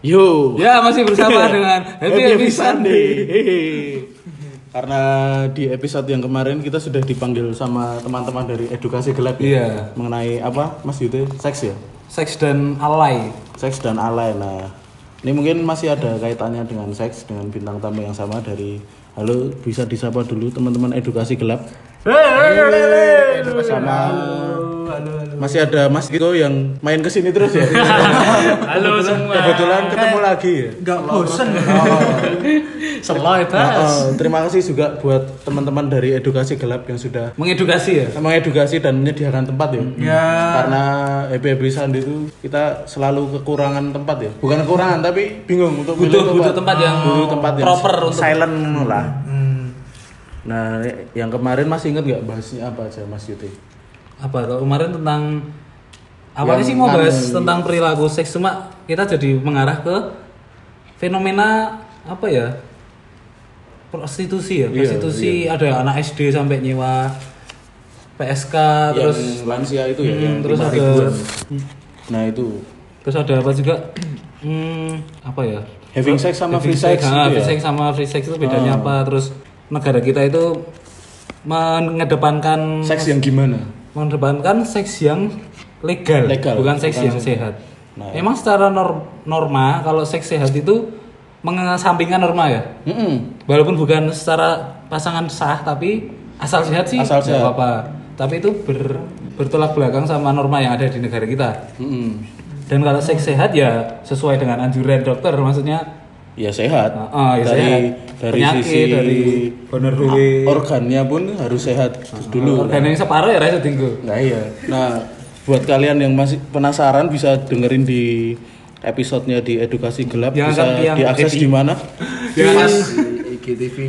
Yo. Ya masih Iya. bersama dengan Happy Happy Sunday. Karena di episode yang kemarin kita sudah dipanggil sama teman-teman dari Edukasi Gelap ya? Iya. mengenai apa Mas Yute seks ya Seks dan alay. seks dan alay lah ini mungkin masih ada kaitannya dengan seks dengan bintang tamu yang sama dari halo bisa disapa dulu teman-teman Edukasi Gelap sama masih ada Mas Gito yang main kesini terus ya Halo semua. kebetulan ketemu lagi ya Gak bosen. Nah, Seloy tas. eh, terima kasih juga buat teman-teman dari Edukasi Gelap yang sudah Mengedukasi ya. mengedukasi dan menyediakan tempat ya. Karena Happy Happy Sandi itu kita selalu kekurangan tempat ya. Bukan kekurangan tapi bingung untuk milih Butuh butuh tempat yang Butuh tempat yang proper untuk silent lah. Hmm. Nah, yang kemarin masih inget nggak bahasnya apa aja Mas Yuti? apa tuh kemarin tentang apa Yang sih mau bahas tentang- tentang perilaku seks cuma kita jadi mengarah ke fenomena apa ya prostitusi Iya, ya prostitusi ada anak SD sampai nyewa PSK Iya. Ah, terus yang lansia itu ya, Hmm, yang terus 5 ada- ribuan. Nah, itu terus ada apa juga hmm, apa ya having sex sama Having free sex, gitu ah, free ya. Ah. sex sama free sex itu bedanya apa terus negara kita itu mengedepankan Seks yang gimana? mengedepankan seks yang legal, Legal, bukan seks bukan yang sehat. Nah. Memang secara nor- norma kalau seks sehat itu mengesampingkan norma ya. Mm-mm. Walaupun bukan secara pasangan sah tapi asal sehat sih Asal nggak sehat. apa-apa. Tapi itu ber- bertolak belakang sama norma yang ada di negara kita. Mm-mm. Dan kalau seks sehat ya sesuai dengan anjuran dokter maksudnya Ya sehat. Ah, ah, ya dari sehat. dari Penyakit, sisi dari Ah, gonorrhoe. organnya pun harus sehat dulu. organ yang separuh ya rasa tinggu. Nah iya. Nah buat kalian yang masih penasaran bisa dengerin di episodenya di Edukasi Gelap Yang bisa akan- yang- diakses di mana?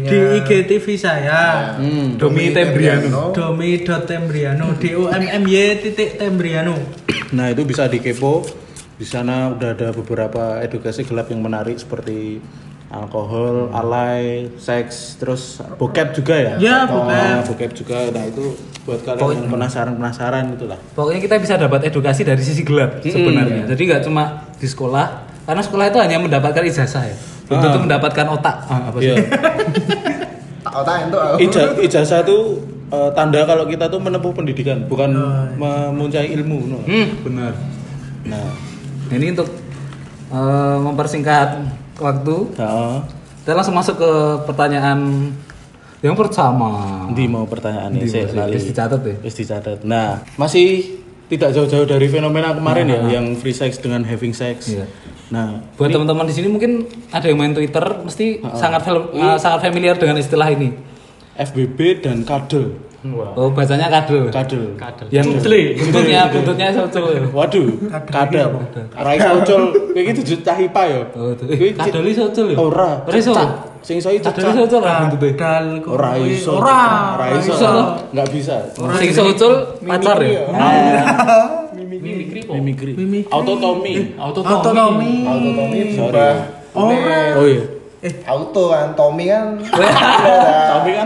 di IGTV saya Hmm. Domi Tembriano. domi.tembriano d o m m y titik tembriano Nah itu bisa dikepo. Di sana udah ada beberapa edukasi gelap yang menarik seperti alkohol, alay, seks, terus bokep juga ya? Ya, Nah, bokep juga. Nah itu buat kalian yang penasaran-penasaran gitu itulah. Pokoknya kita bisa dapat edukasi dari sisi gelap sebenarnya. Jadi nggak cuma di sekolah, karena sekolah itu hanya mendapatkan ijazah ya. Belum tentu mendapatkan otak. Ah, apa Iya. sih? Ija- ijazah itu eh, tanda kalau kita tuh menempuh pendidikan, bukan memuncai ilmu. no. Hmm, benar. Nah, Nah, Ini untuk eh, mempersingkat waktu, nah, kita langsung masuk ke pertanyaan yang pertama. nanti mau pertanyaan ini Di- sekali. Terus dicatat ya. Terus dicatat. Nah, masih tidak jauh-jauh dari fenomena kemarin ya, yang free sex dengan having sex. Iya. Nah, Buat teman-teman di sini mungkin ada yang main Twitter, mesti sangat fel- eh, sangat familiar dengan istilah ini. FBB dan kadel. Oh, bacanya kadul. Kadel. Yang buntutnya, buntutnya ya. satu. Waduh, kadel. Raisa Ucul, kayak gitu juta hipa ya. Oh, tuh. Kuwi Eh, kadoli socol ya? Ora, Ora iso. Sing iso itu Kadoli socol lah buntute. dal Ora iso. ora Ora iso. iso. Nggak bisa. Sing socol pacar ya? Mimikri. Autotomi. autonomi Autotomi Hmm. Sorry. ora Oh iya. auto kan Tommy kan Tapi kan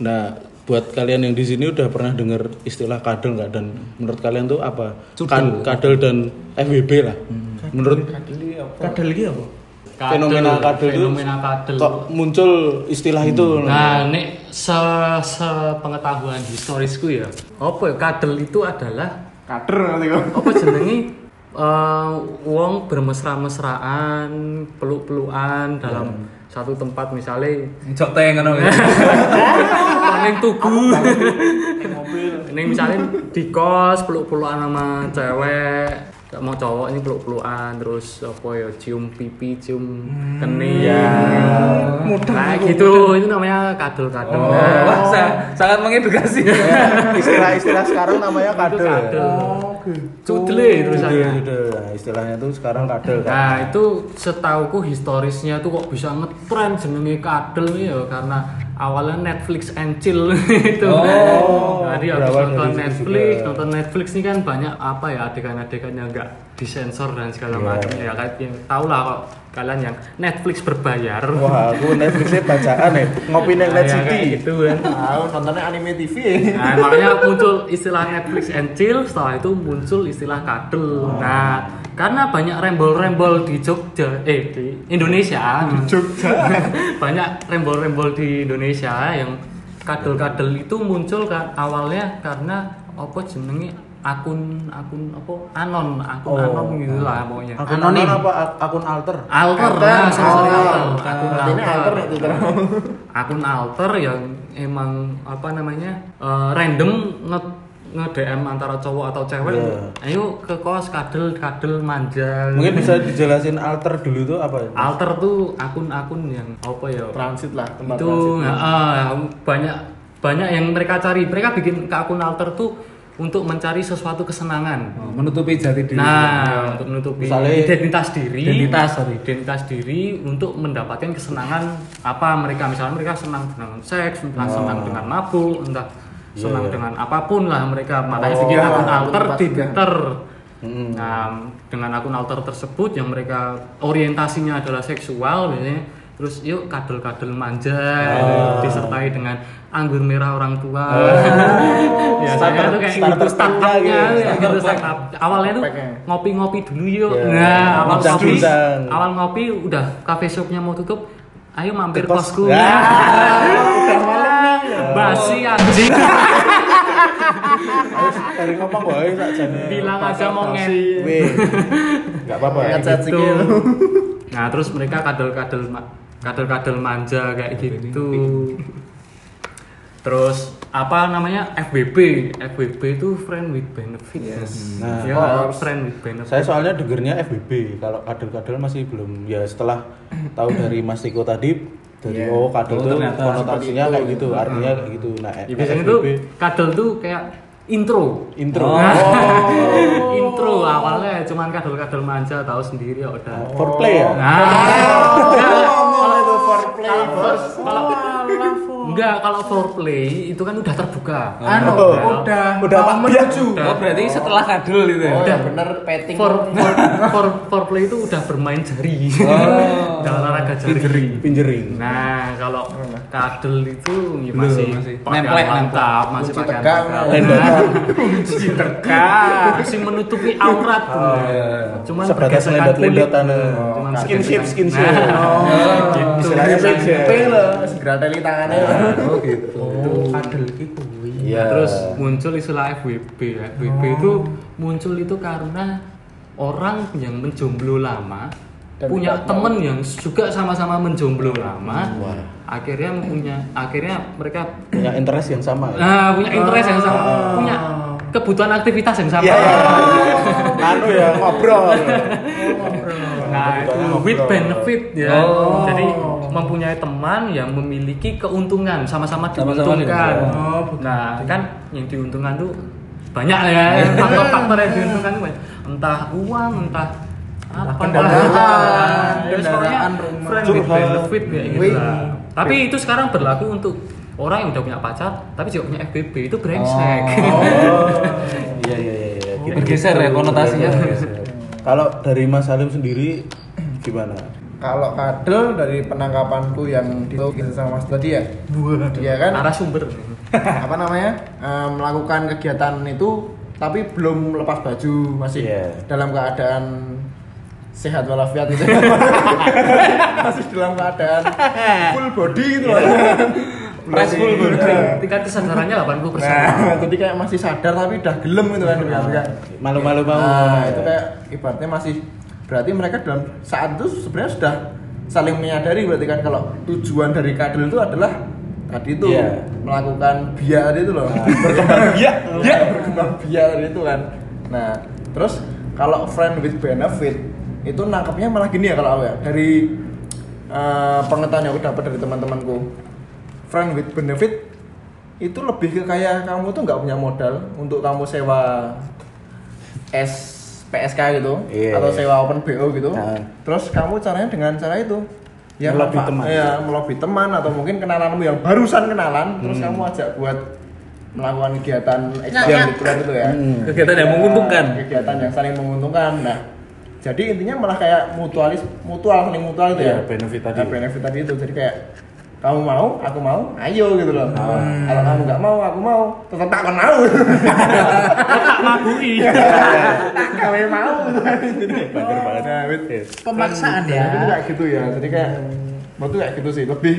Nah, buat kalian yang di sini udah pernah dengar istilah kadel nggak dan menurut kalian tuh apa? Kan- kadel dan FWB lah. Hmm. Menurut kadal iki apa fenomena kadel itu fenomena kadel. kok muncul istilah itu? Nah, nek se, sepengetahuan historisku ya. Apa ya kadel itu adalah kader nanti Apa jenenge? Eh, wong bermesra-mesraan, peluk-pelukan dalam satu tempat misalnya Joteng ngono ya. neng tugu neng misalnya di kos peluk-pelukan sama cewek gak mau cowok ini peluk-pelukan terus apa ya cium pipi cium kening Nah, Hmm. gitu itu namanya kadul-kadul Nah, Wah, sa- sangat mengedukasi. Istilah-istilah sekarang namanya kadel. ya? kadul Oh, cudle Iya, terusannya gitu. Nah, istilahnya tuh sekarang kadel kan. Nah itu setauku historisnya tuh kok bisa ngetren jenenge kadel ya karena awalnya Netflix and chill itu. Oh, Jadi habis berawal dari situ nonton Netflix, juga. nonton Netflix ini kan banyak apa ya adegan-adegan yang enggak disensor dan Iya. segala macam ya kayak yang tau lah kok kalian yang Netflix berbayar. Wah, aku Netflixnya bacaan ya. Ngopi neng Net Ya, kayak City. gitu kan. tahu nontonnya anime ya. TV Nah, makanya muncul istilah Netflix and chill, setelah itu muncul istilah kadel. Nah, Karena banyak rembol-rembol di Jogja, eh di Indonesia, di Jogja. banyak rembol-rembol di Indonesia yang kadel-kadel itu muncul kan awalnya karena apa jenenge akun akun apa anon akun anon gitu lah pokoknya Akun anonim apa ak- akun alter? alter Alter, nah, sorry, oh. alter. akun Berarti ini alter nih, Twitter. akun alter yang emang apa namanya eh, random nge nge DM antara cowok atau cewek ayo ke kos kadel kadel manja Mungkin bisa dijelasin alter dulu tuh apa ya? alter tuh akun-akun yang apa ya Transit lah tempat itu transit. ah, banyak banyak yang mereka cari mereka bikin ke akun alter tuh untuk mencari sesuatu kesenangan Oh, menutupi jati diri. nah untuk menutupi Misalnya- identitas diri Identitas, sorry. identitas diri untuk mendapatkan kesenangan apa mereka misalnya mereka senang dengan seks entah senang dengan mabuk entah senang dengan apapun lah mereka makanya bikin akun alter di Twitter nah dengan akun alter tersebut yang mereka orientasinya adalah seksual biasanya terus yuk kadel-kadel manja gitu, disertai dengan anggur merah orang tua biasanya Starter- tuh kayak starter gitu startupnya pack-nya gitu, kayak gitu startup awalnya tuh pack-nya. ngopi-ngopi dulu yuk Ya, nah awal Bincang- ngopi bincang. awal ngopi udah cafe shopnya mau tutup ayo mampir Nah, Ke kos. kosku Ya. basi anjing Ah, Dari ngomong wae sak jane. bilang aja mau ngen Weh. Enggak apa-apa ya. Ngechat Gitu. sikil. nah terus mereka kadel-kadel ma- kadel-kadel manja kayak gitu terus apa namanya FBB FBB itu friend with benefit Nah, ya oh, friend with benefit Saya soalnya dengernya FBB, kalau kadel-kadel masih belum. Ya setelah tahu dari Mas Tiko tadi dari Iya. oh kadel Oh, tuh ternyata konotasinya kayak gitu, Ah. artinya kayak gitu. Nah, Ya, biasanya tuh kadel tuh kayak intro intro. Oh. intro awalnya cuman kadel-kadel manja tahu sendiri ya udah Foreplay ya? Oh. nah Ngomong itu foreplay first. kalau enggak kalau foreplay itu kan udah terbuka Anu, Oh. udah Udah mau Pak menuju. Oh, berarti setelah kadul itu ya. Oh, ya bener petting. for for for foreplay itu udah bermain jari udah olahraga jari Pinjering. nah kalau kadel itu ya masih masih. pakai Nemplek, mantap masih Kunci pakai tegang. mantap. Lendokan. kunci tegang masih menutupi aurat iya, Iya. cuman Sebatas pergesekan lendot-lendotan. kulit. Oh. Cuman Skinship, pergesekan- skinship. Nah, gitu. Istilahnya saja. Grateli tangannya. Oh gitu. Kadel iki kuwi. Iya. Terus muncul istilah FWB. ya. FWB Oh. itu muncul itu karena orang yang menjomblo lama Dan punya tidak temen yang juga sama-sama menjomblo lama. Akhirnya punya akhirnya mereka punya interest yang sama. ya? nah, punya interest yang sama, Ah. punya kebutuhan aktivitas yang sama. Iya, iya. Anu ya Oh. ngobrol. Nah, itu with benefit ya. Oh. Jadi mempunyai teman yang memiliki keuntungan sama-sama Sama-sama diuntungkan. diuntungkan. nah, kan yang diuntungkan tuh banyak ya faktor-faktor yang diuntungkan tuh banyak. entah uang, entah apa kendaraan, kendaraan. Ya, kendaraan, pokoknya rumah. friend with Curhat. benefit ya gitu Wih. lah. Tapi itu sekarang berlaku untuk orang yang udah punya pacar tapi juga punya FBB itu brengsek. Oh. Iya, iya, iya, iya. Gitu. Bergeser ya konotasinya. Kalau dari Mas Salim sendiri gimana? Kalau kadel dari penangkapanku yang ditukin sama Mas tadi ya. Dia kan Arah sumber. apa namanya eh, melakukan kegiatan itu tapi belum lepas baju masih Iya. dalam keadaan sehat walafiat itu masih dalam keadaan full body gitu loh Iya. Iya. Fresh full body. Tingkat kesadarannya 80%. nah jadi kayak masih sadar tapi udah gelem gitu kan berarti kayak- Iya. Malu-malu mau. nah, itu kayak ibaratnya masih berarti mereka dalam saat itu sebenarnya sudah saling menyadari berarti kan kalau tujuan dari kadel itu adalah tadi itu Iya. Nah, melakukan biar itu loh berkembang Iya. biak ya berkembang biak tadi itu kan nah terus kalau friend with benefit itu nangkepnya malah gini ya kalau aku ya dari eh, pengetahuan yang aku dapat dari teman-temanku friend with benefit itu lebih ke kayak kamu tuh nggak punya modal untuk kamu sewa es PSK gitu Iya, atau iya. sewa open BO gitu Nah. terus kamu caranya dengan cara itu Melobi apa- teman. ya melobi teman atau mungkin kenalanmu yang barusan kenalan terus kamu ajak buat melakukan kegiatan ekstrakurikuler gitu ya Hmm. Kegiatan yang menguntungkan. kegiatan yang saling menguntungkan nah jadi intinya malah kayak mutualis mutual saling mutual gitu Iya, ya benefit tadi. Nah, benefit tadi itu jadi kayak kamu mau, aku mau, ayo gitu loh. Kalau kamu nggak mau, aku mau. Tetap tak akan mau. tak mabui Kamu mau. Bener banget. Nah, with- Pemaksaan Nah, Itu ya. kayak gitu ya. Jadi kayak Hmm. menurutku kayak gitu sih. Lebih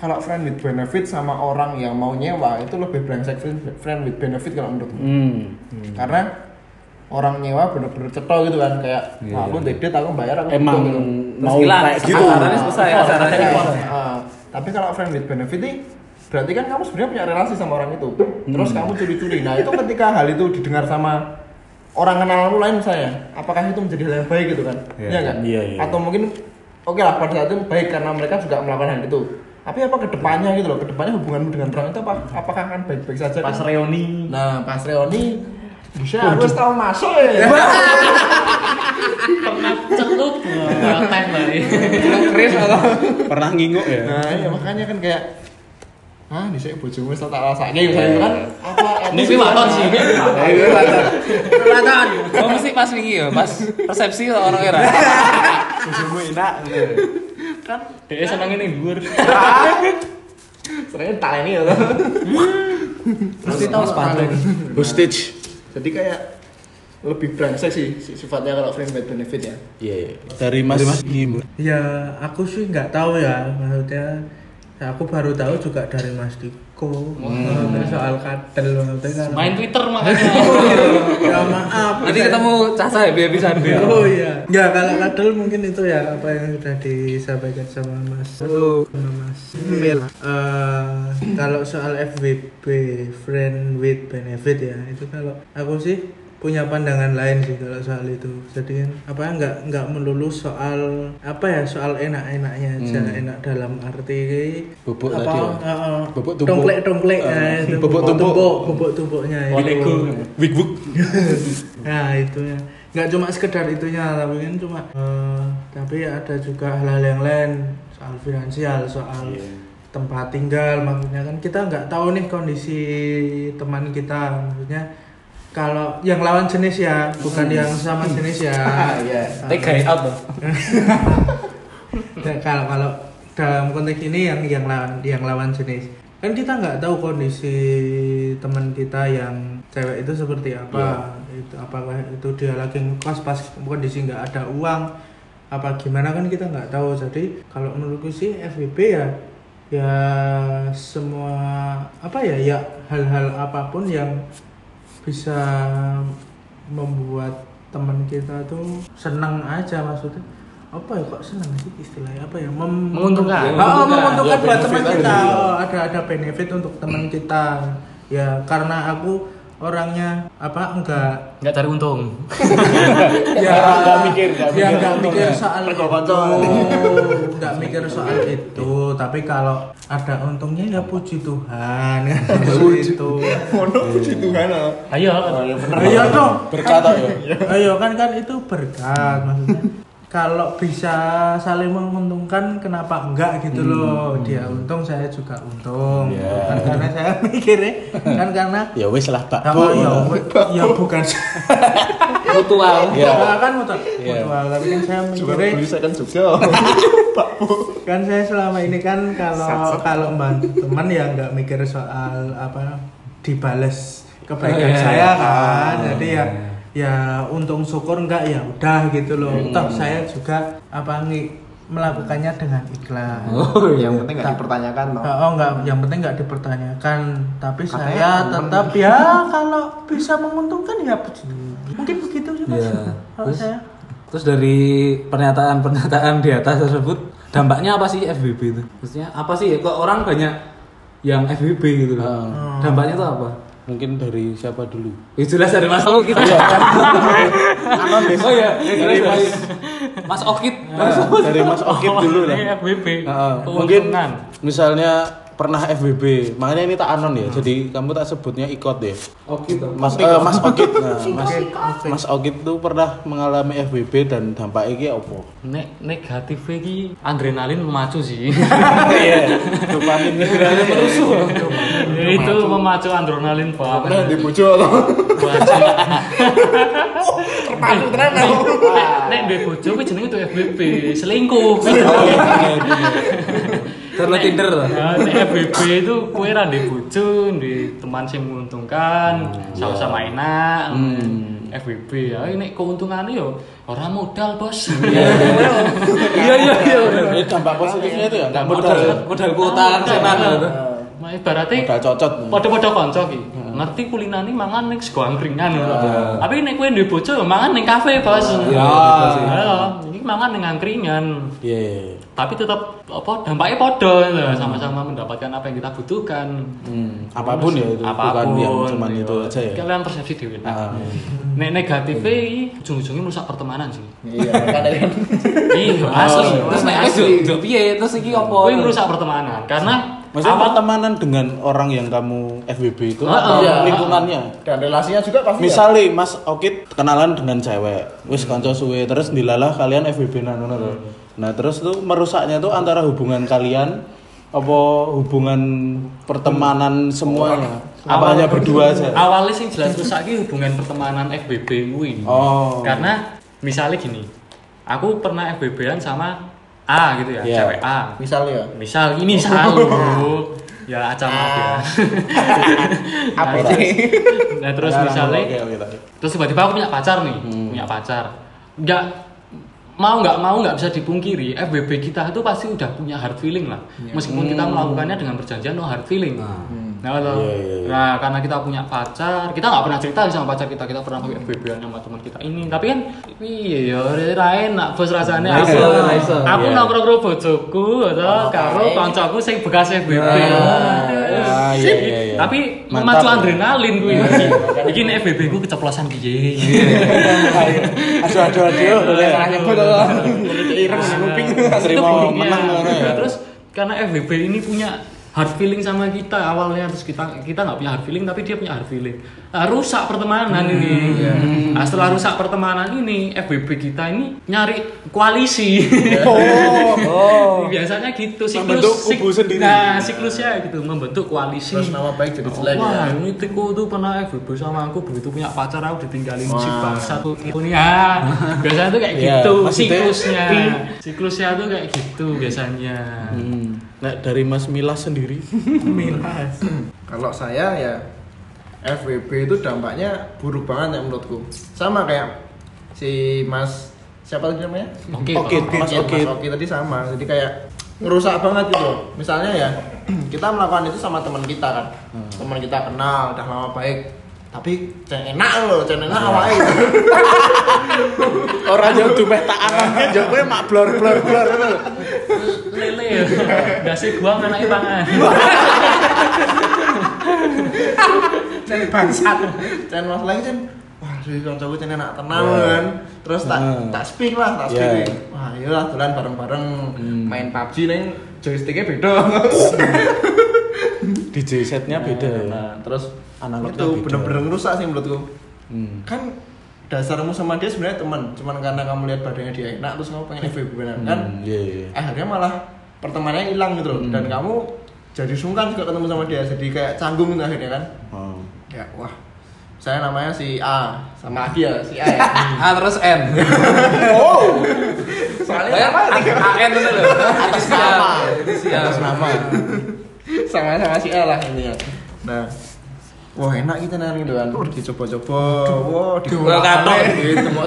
kalau friend with benefit sama orang yang mau nyewa itu lebih brengsek friend, friend with benefit kalau menurutku. Hmm. Karena orang nyewa bener-bener cetol gitu kan kayak "Wah, aku ngedate aku bayar aku Iya, Emang gitu." mau hilang. kayak gitu. Sasarannya susah ya, sasarannya Kayak, impor. ah, tapi kalau friend with benefit nih berarti kan kamu sebenarnya punya relasi sama orang itu terus Hmm. kamu curi-curi nah itu ketika hal itu didengar sama orang kenal lain misalnya apakah itu menjadi hal yang baik gitu kan Iya. Iya nggak? Iya, iya. atau mungkin oke lah pada saat itu baik karena mereka juga melakukan hal itu tapi apa kedepannya gitu loh kedepannya hubunganmu dengan orang itu apa apakah akan baik-baik saja kan? pas reuni nah pas reuni bisa aku harus tahu masuk Iya. ya pernah celup ngapain lagi Chris atau Pernah nginguk ya? Nah, iya makanya kan kayak ah di sini bojomu wis tak Iya, rasane misalnya itu kan apa ini sih waton sih Kelihatan. Oh mesti pas wingi ya, pas persepsi orang era. Bojomu enak. dia seneng ini gue Sebenarnya tak ini ya. toh. Mesti tahu sepatu. Hostage. Jadi kayak lebih brengsek sih si- sifatnya kalau frame by benefit ya. Iya, iya. Dari Mas, Gimbo. Ya aku sih nggak tahu ya maksudnya. ya, aku baru tahu juga dari Mas Diko Maksudnya soal katel maksudnya kan. main twitter makanya Ya maaf. Jadi ketemu Caca ya, happy happy Sunday. Oh iya. Ya kalau kadal mungkin itu ya apa yang sudah disampaikan sama Mas. Oh. sama Mas. Iya. Mil. Eh, kalau soal FWB friend with benefit ya itu kalau aku sih punya pandangan lain sih kalau soal itu. Jadi kan apa nggak nggak melulu soal apa ya soal enak-enaknya aja enak dalam arti Hmm. Bubuk apa, tadi ya? eh, eh, Bubuk tumpuk. Ah. tongklek-tongklek, eh, itu Bubuk tumpuk. bubuk tumpuknya itu. Wig wig. Nah itunya nggak cuma sekedar itunya tapi kan cuma eh, tapi ada juga hal-hal yang lain soal finansial soal tempat tinggal maksudnya kan kita nggak tahu nih kondisi teman kita maksudnya kalau yang lawan jenis ya bukan yang sama jenis ya Tega ya apa? Ya, kalau kalau dalam konteks ini yang yang lawan yang lawan jenis kan kita nggak tahu kondisi teman kita yang cewek itu seperti apa itu apakah itu dia lagi ngekos pas kondisi nggak ada uang apa gimana kan kita nggak tahu jadi kalau menurutku sih FWB ya ya semua apa ya ya hal-hal apapun yang bisa membuat teman kita tuh senang aja maksudnya apa ya kok senang sih istilahnya apa ya Mem- Menguntungkan. Oh, oh, Ya, menguntungkan buat benefit teman aja kita gitu. Oh, ada ada benefit untuk teman kita ya karena aku orangnya apa enggak nggak cari untung ya Nggak mikir, nggak ya mikir. nggak mikir soal itu Kocok-kocok. nggak mikir soal itu tapi kalau ada untungnya ya puji Tuhan Puji. itu Mono puji Tuhan loh. ayo Ya bener. ayo dong Berkata ya. ayo kan kan itu berkat maksudnya kalau bisa saling menguntungkan kenapa enggak gitu loh dia untung saya juga untung Ya. kan karena saya mikirnya kan karena Ya wis lah Pak. sama ya, bu- ya bukan Mutual. Ya. ya. kan mutual Ya. mutual tapi kan saya Juga mikirnya beli saya kan Jogja. kan saya selama ini kan kalau kalau bantu teman ya nggak mikir soal apa dibales kebaikan saya kan jadi ya ya untung syukur nggak ya udah gitu loh toh saya juga apa ngi- melakukannya dengan ikhlas Oh iya. Yang penting nggak dipertanyakan toh. Oh enggak, yang penting nggak dipertanyakan. Tapi saya Katanya tetap ya kalau bisa menguntungkan ya puji. mungkin begitu sih mas. Iya. Kalau Terus? saya Terus dari pernyataan-pernyataan di atas tersebut, dampaknya apa sih FBB itu? Maksudnya apa sih? Kok orang banyak yang FBB gitu loh. Dampaknya itu apa? Mungkin dari siapa dulu? Ya jelas dari Mas Okit kita. oh iya, ya jelas Dari Nah, dari Mas Okit. Dari Mas Okit dulu lah. Ini FBB Heeh. mungkin keuntungan misalnya pernah FBB, makanya ini tak anon ya. Jadi kamu tak sebutnya ikot deh. Okit. Mas eh, Mas Okit. Nah, Mas Mas Okit tuh pernah mengalami FBB dan dampaknya iki apa? Nek negatif lagi adrenalin memacu sih. Iya. Dopamin itu memacu adrenalin pak. Nah, di bojo toh. Terpacu tenan Nek duwe bojo kuwi jenenge tuh FBB, selingkuh. Terus lo Tinder lah. Nah, nek FBB itu kue ra ndek bojo, ndek teman sing menguntungkan, Hmm, iya. sama-sama enak. FBB ya ini keuntungannya yo orang modal bos. Iya iya iya. Ini dampak positifnya itu ya. Dampak modal ya. Modal modal kuota senan lho. Ah, Nah, ibaratnya Modal cocot. Padha-padha kanca ki. Hmm. Ngerti kulinane mangan ning sego angkringan. Tapi nek kowe ndek bojo ya mangan ning kafe, Bos. Iya, betul sih. Iya. Iki mangan ning angkringan. Iya. Tapi tetap apa dampaknya padha gitu. sama-sama mendapatkan apa yang kita butuhkan. Hmm, apapun ya itu bukan yang cuman iya. itu aja ya. Kalian persepsi dhewe. Ah. Nek negatifnya iki ujung-ujungnya merusak pertemanan sih. Hmm. Iya, makanya kan. Iya, asli. Terus nek aku yo piye? Terus iki opo? Kowe merusak pertemanan karena Maksudnya pertemanan dengan orang yang kamu FBB itu Ah, iya. atau iya. lingkungannya? Dan relasinya juga pasti. ya. Misalnya Mas Okit kenalan dengan cewek, wis kanca suwe terus dilalah kalian FBB nan ngono lho. Hmm. Nah, terus tuh merusaknya tuh antara hubungan kalian apa hubungan Hmm. pertemanan semuanya? Apa hanya berdua aja? awalnya sih jelas rusak iki hubungan pertemanan FBB kuwi. Oh. Karena misalnya gini, aku pernah FBB-an sama A gitu ya, Iya. cewek A. Misalnya. Misal ini misal ya acam aku ya. Apa Nah, sih? terus- Nah, terus Nah, misalnya oke, oke, oke. terus tiba-tiba aku punya pacar nih Hmm. punya pacar nggak mau nggak mau nggak bisa dipungkiri FBB kita itu pasti udah punya hard feeling lah meskipun kita melakukannya dengan perjanjian no hard feeling nah, kalau- Hmm. Ah. Iya, iya, iya. nah, karena kita punya pacar kita nggak pernah cerita sama pacar kita kita pernah pakai FBB an sama teman kita ini tapi kan iya ya ora enak bos rasanya Ra aku iso, ra iso. Nah, aku Iya. nongkrong karo bojoku atau karo kancaku sing bekas FBB Nah. Ah, iya, iya, iya. tapi Mantap. memacu adrenalin gue ini. Iki nek FBB ku keceplosan Iya, piye. aduh aduh aduh. boleh. Karena nyebut loh. Ireng nang kuping. Itu Terima buruknya. menang ngono ya. Nah, Terus karena FBB ini punya hard feeling sama kita awalnya terus kita kita nggak punya hard feeling tapi dia punya hard feeling Nah, rusak pertemanan Hmm, ini iya. nah, setelah rusak pertemanan ini FBB kita ini nyari koalisi biasanya gitu Oh, siklus Membentuk kubu sik- sendiri. nah siklusnya gitu membentuk koalisi Terus nama baik jadi jelek ya. Wah, ini tiku tuh pernah FBB sama aku begitu punya pacar aku ditinggalin si bangsa tuh itu nih ah. Biasanya tuh kayak Iya, gitu maksudnya- siklusnya. Siklusnya tuh kayak gitu biasanya. Hmm. Nah, dari Mas Milas sendiri. milas Kalau saya ya FWB itu dampaknya buruk banget ya menurutku. Sama kayak si Mas siapa tadi namanya? Oke. Oke, Pak. Mas Iya, Okit. Mas Oki tadi sama. Jadi kayak ngerusak banget gitu. Misalnya ya kita melakukan itu sama teman kita kan. Teman kita kenal udah lama baik. Tapi cen enak loh, cen enak awake. Orang yang dumeh tak anaknya jawabnya mak blor blor blor. Lele. Dasi gua anaknya pangan. Cen bangsat. Cen mas lagi cen Wah, jadi kancaku cen enak tenang Iya. kan. Terus tak Hmm. tak speak lah, tak speak. Yeah. Wah, iyalah dolan bareng-bareng Hmm. main PUBG neng joysticknya beda. DJ setnya beda. ya. nah, terus Analognya itu beda. bener-bener rusak sih menurutku. Hmm. kan dasarmu sama dia sebenarnya teman cuman karena kamu lihat badannya dia enak terus kamu pengen FWB beneran kan Hmm, Iya iya. Hmm. akhirnya malah pertemanannya hilang gitu loh dan kamu jadi sungkan juga ketemu sama dia jadi kayak canggung gitu akhirnya kan Oh. ya wah saya namanya si A sama Agi ya Iya, si A ya Ah terus N. Oh. soalnya apa AN itu lho. Atas nama. Atas nama. sama sama si A lah ini ya nah wah enak kita nanti gitu kan dicoba-coba wah Gua katok.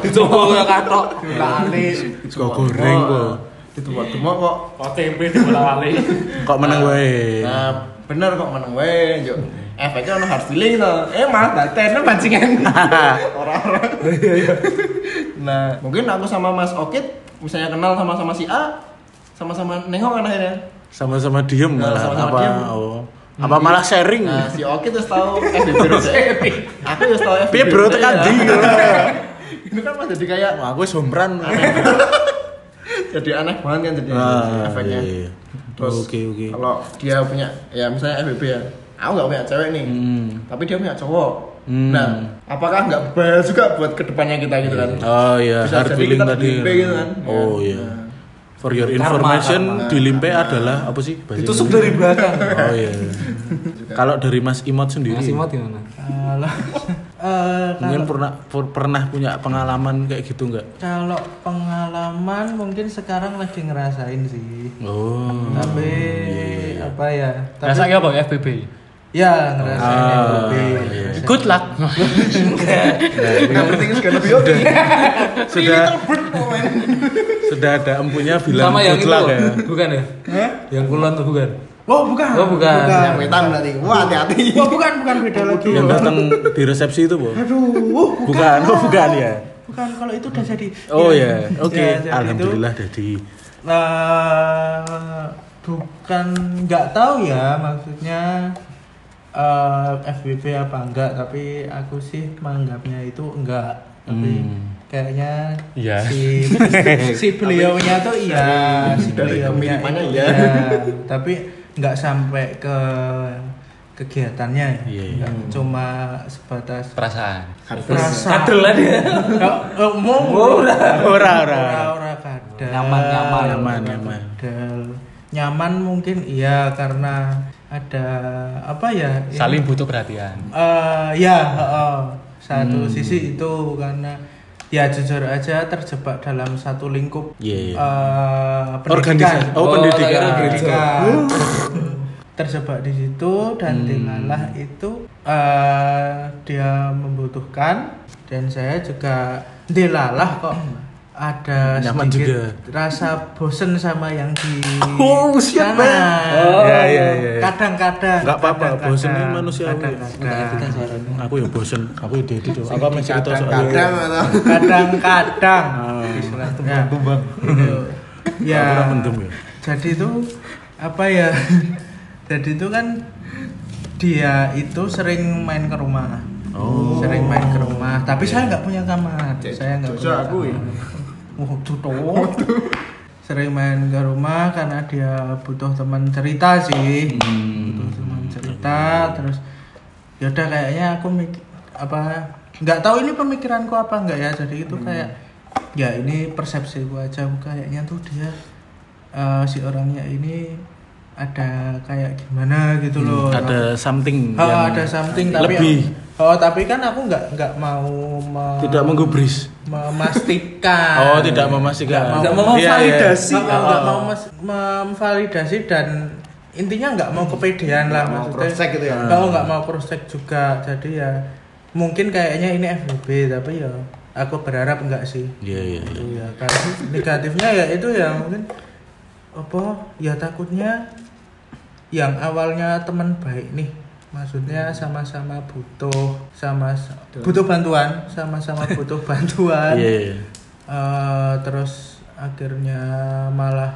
Dicoba gua katok. Sego goreng kok. ditemok-temok kok Kok tempe dibolak-balik. Kok menang wae. Nah, bener kok menang wae, Juk. Efeknya ono hard feeling to. Eh malah daten pancingan. Orang-orang. iya. Nah, mungkin aku sama Mas Okit misalnya kenal sama-sama si A, sama-sama nengok kan akhirnya. Sama-sama diem Nah, malah sama-sama apa? diem. Hmm. Oh. Apa malah sharing? Nah, si Okit terus tahu FBB terus. Aku terus tahu FBB. Piye bro tekan ndi? Itu ya. kan mas jadi kayak Wah, Aku wis homeran. Nah, jadi aneh banget kan jadi Ah, efeknya. iya, iya. Terus Oke, oke. kalau dia punya ya misalnya FBB ya, aku nggak punya cewek nih, Hmm. tapi dia punya cowok. Hmm. Nah, apakah nggak bahaya juga buat kedepannya kita gitu kan? Oh iya, Bisa hard jadi feeling kita tadi. dilimpe gitu kan. Oh Ya. iya. For your information, karma. dilimpe adalah apa sih? bahasa Ditusuk Indonesia? dari belakang. Oh iya. Kalau dari Mas Imot sendiri. Mas Imot gimana? kalau eh, Mungkin kalau- pernah per- pernah punya pengalaman kayak gitu nggak? kalau pengalaman mungkin sekarang lagi ngerasain sih Oh. tapi iya. apa ya Nah, tapi Rasanya apa FBB? ya ngerasain yang Ah, lebih iya. ngerasain. Good luck. Yang penting is gonna be okay. Sudah sudah ada empunya bilang sama yang itu mutlak ya. bukan ya Hah? yang kulon tuh bukan oh bukan Oh, bukan. Nah, Yang wetan berarti. Wah, hati-hati. Iya. oh bukan bukan beda lagi Yang datang di resepsi itu, Bu. aduh oh, Bukan, oh, bukan ya. bukan kalau itu udah jadi Oh ya, oke. Ya, jadi itu- Alhamdulillah jadi. eh bukan nggak tahu ya maksudnya eh FBB apa enggak tapi aku sih menganggapnya itu enggak tapi kayaknya Iya. si si beliaunya tuh iya si dari beliaunya kemiripannya itu iya. tapi nggak sampai ke kegiatannya Iya, ya iya. Nggak cuma sebatas Perasaan. rasa kadel lah dia Oh, oh, mau eh, Ora, ora. ora ora kadal Nyaman, nyaman. Nyaman, Ora nyaman. kadal. nyaman mungkin iya karena ada apa ya ya- Saling butuh perhatian. Eh, ya heeh. satu sisi itu karena ya jujur aja terjebak dalam satu lingkup Iya, iya. eh, pendidikan Organisasi. Oh, pendidikan. tak kira pendidikan terjebak di situ Hmm. dan dilalah itu eh, dia membutuhkan dan saya juga dilalah kok ada Hmm, Nyaman sedikit juga. rasa bosen sama yang di Oh, shit, sana. man. Oh. Ya, ya, ya, ya. kadang-kadang Nggak apa-apa, kadang-kadang, bosen ini manusiawi. kadang-kadang Aku ya bosen, aku ya dedi tuh. Apa masih cerita soal Kadang atau kadang-kadang istilahnya Gitu. ya Aku orang mendem ya. jadi itu apa ya jadi itu kan dia itu sering main ke rumah Oh. sering main ke rumah tapi saya nggak punya kamar saya nggak Jujur punya aku ya. Oh, sering main ke rumah karena dia butuh teman cerita sih Hmm. butuh teman cerita terus yaudah kayaknya aku mik- apa nggak tahu ini pemikiranku apa nggak ya jadi itu Hmm. kayak ya ini persepsiku aja kayaknya tuh dia eh, si orangnya ini ada kayak gimana gitu loh Hmm, Ada something Oh, yang ada something tapi lebih oh tapi kan aku nggak nggak mau me- tidak menggubris. memastikan Oh, tidak memastikan. Nggak Iya, mau iya. validasi. nggak mau- nggak mau mes- memvalidasi dan intinya nggak mau kepedean lah Nggak mau maksudnya Nah. cross-check gitu ya. kalau nggak mau cross check juga jadi ya mungkin kayaknya ini FBB tapi ya aku berharap enggak sih Iya, iya, iya. Iya, karena negatifnya ya itu ya mungkin apa ya takutnya yang awalnya teman baik nih maksudnya sama-sama butuh sama butuh bantuan sama-sama butuh bantuan Iya, iya. Eh, terus akhirnya malah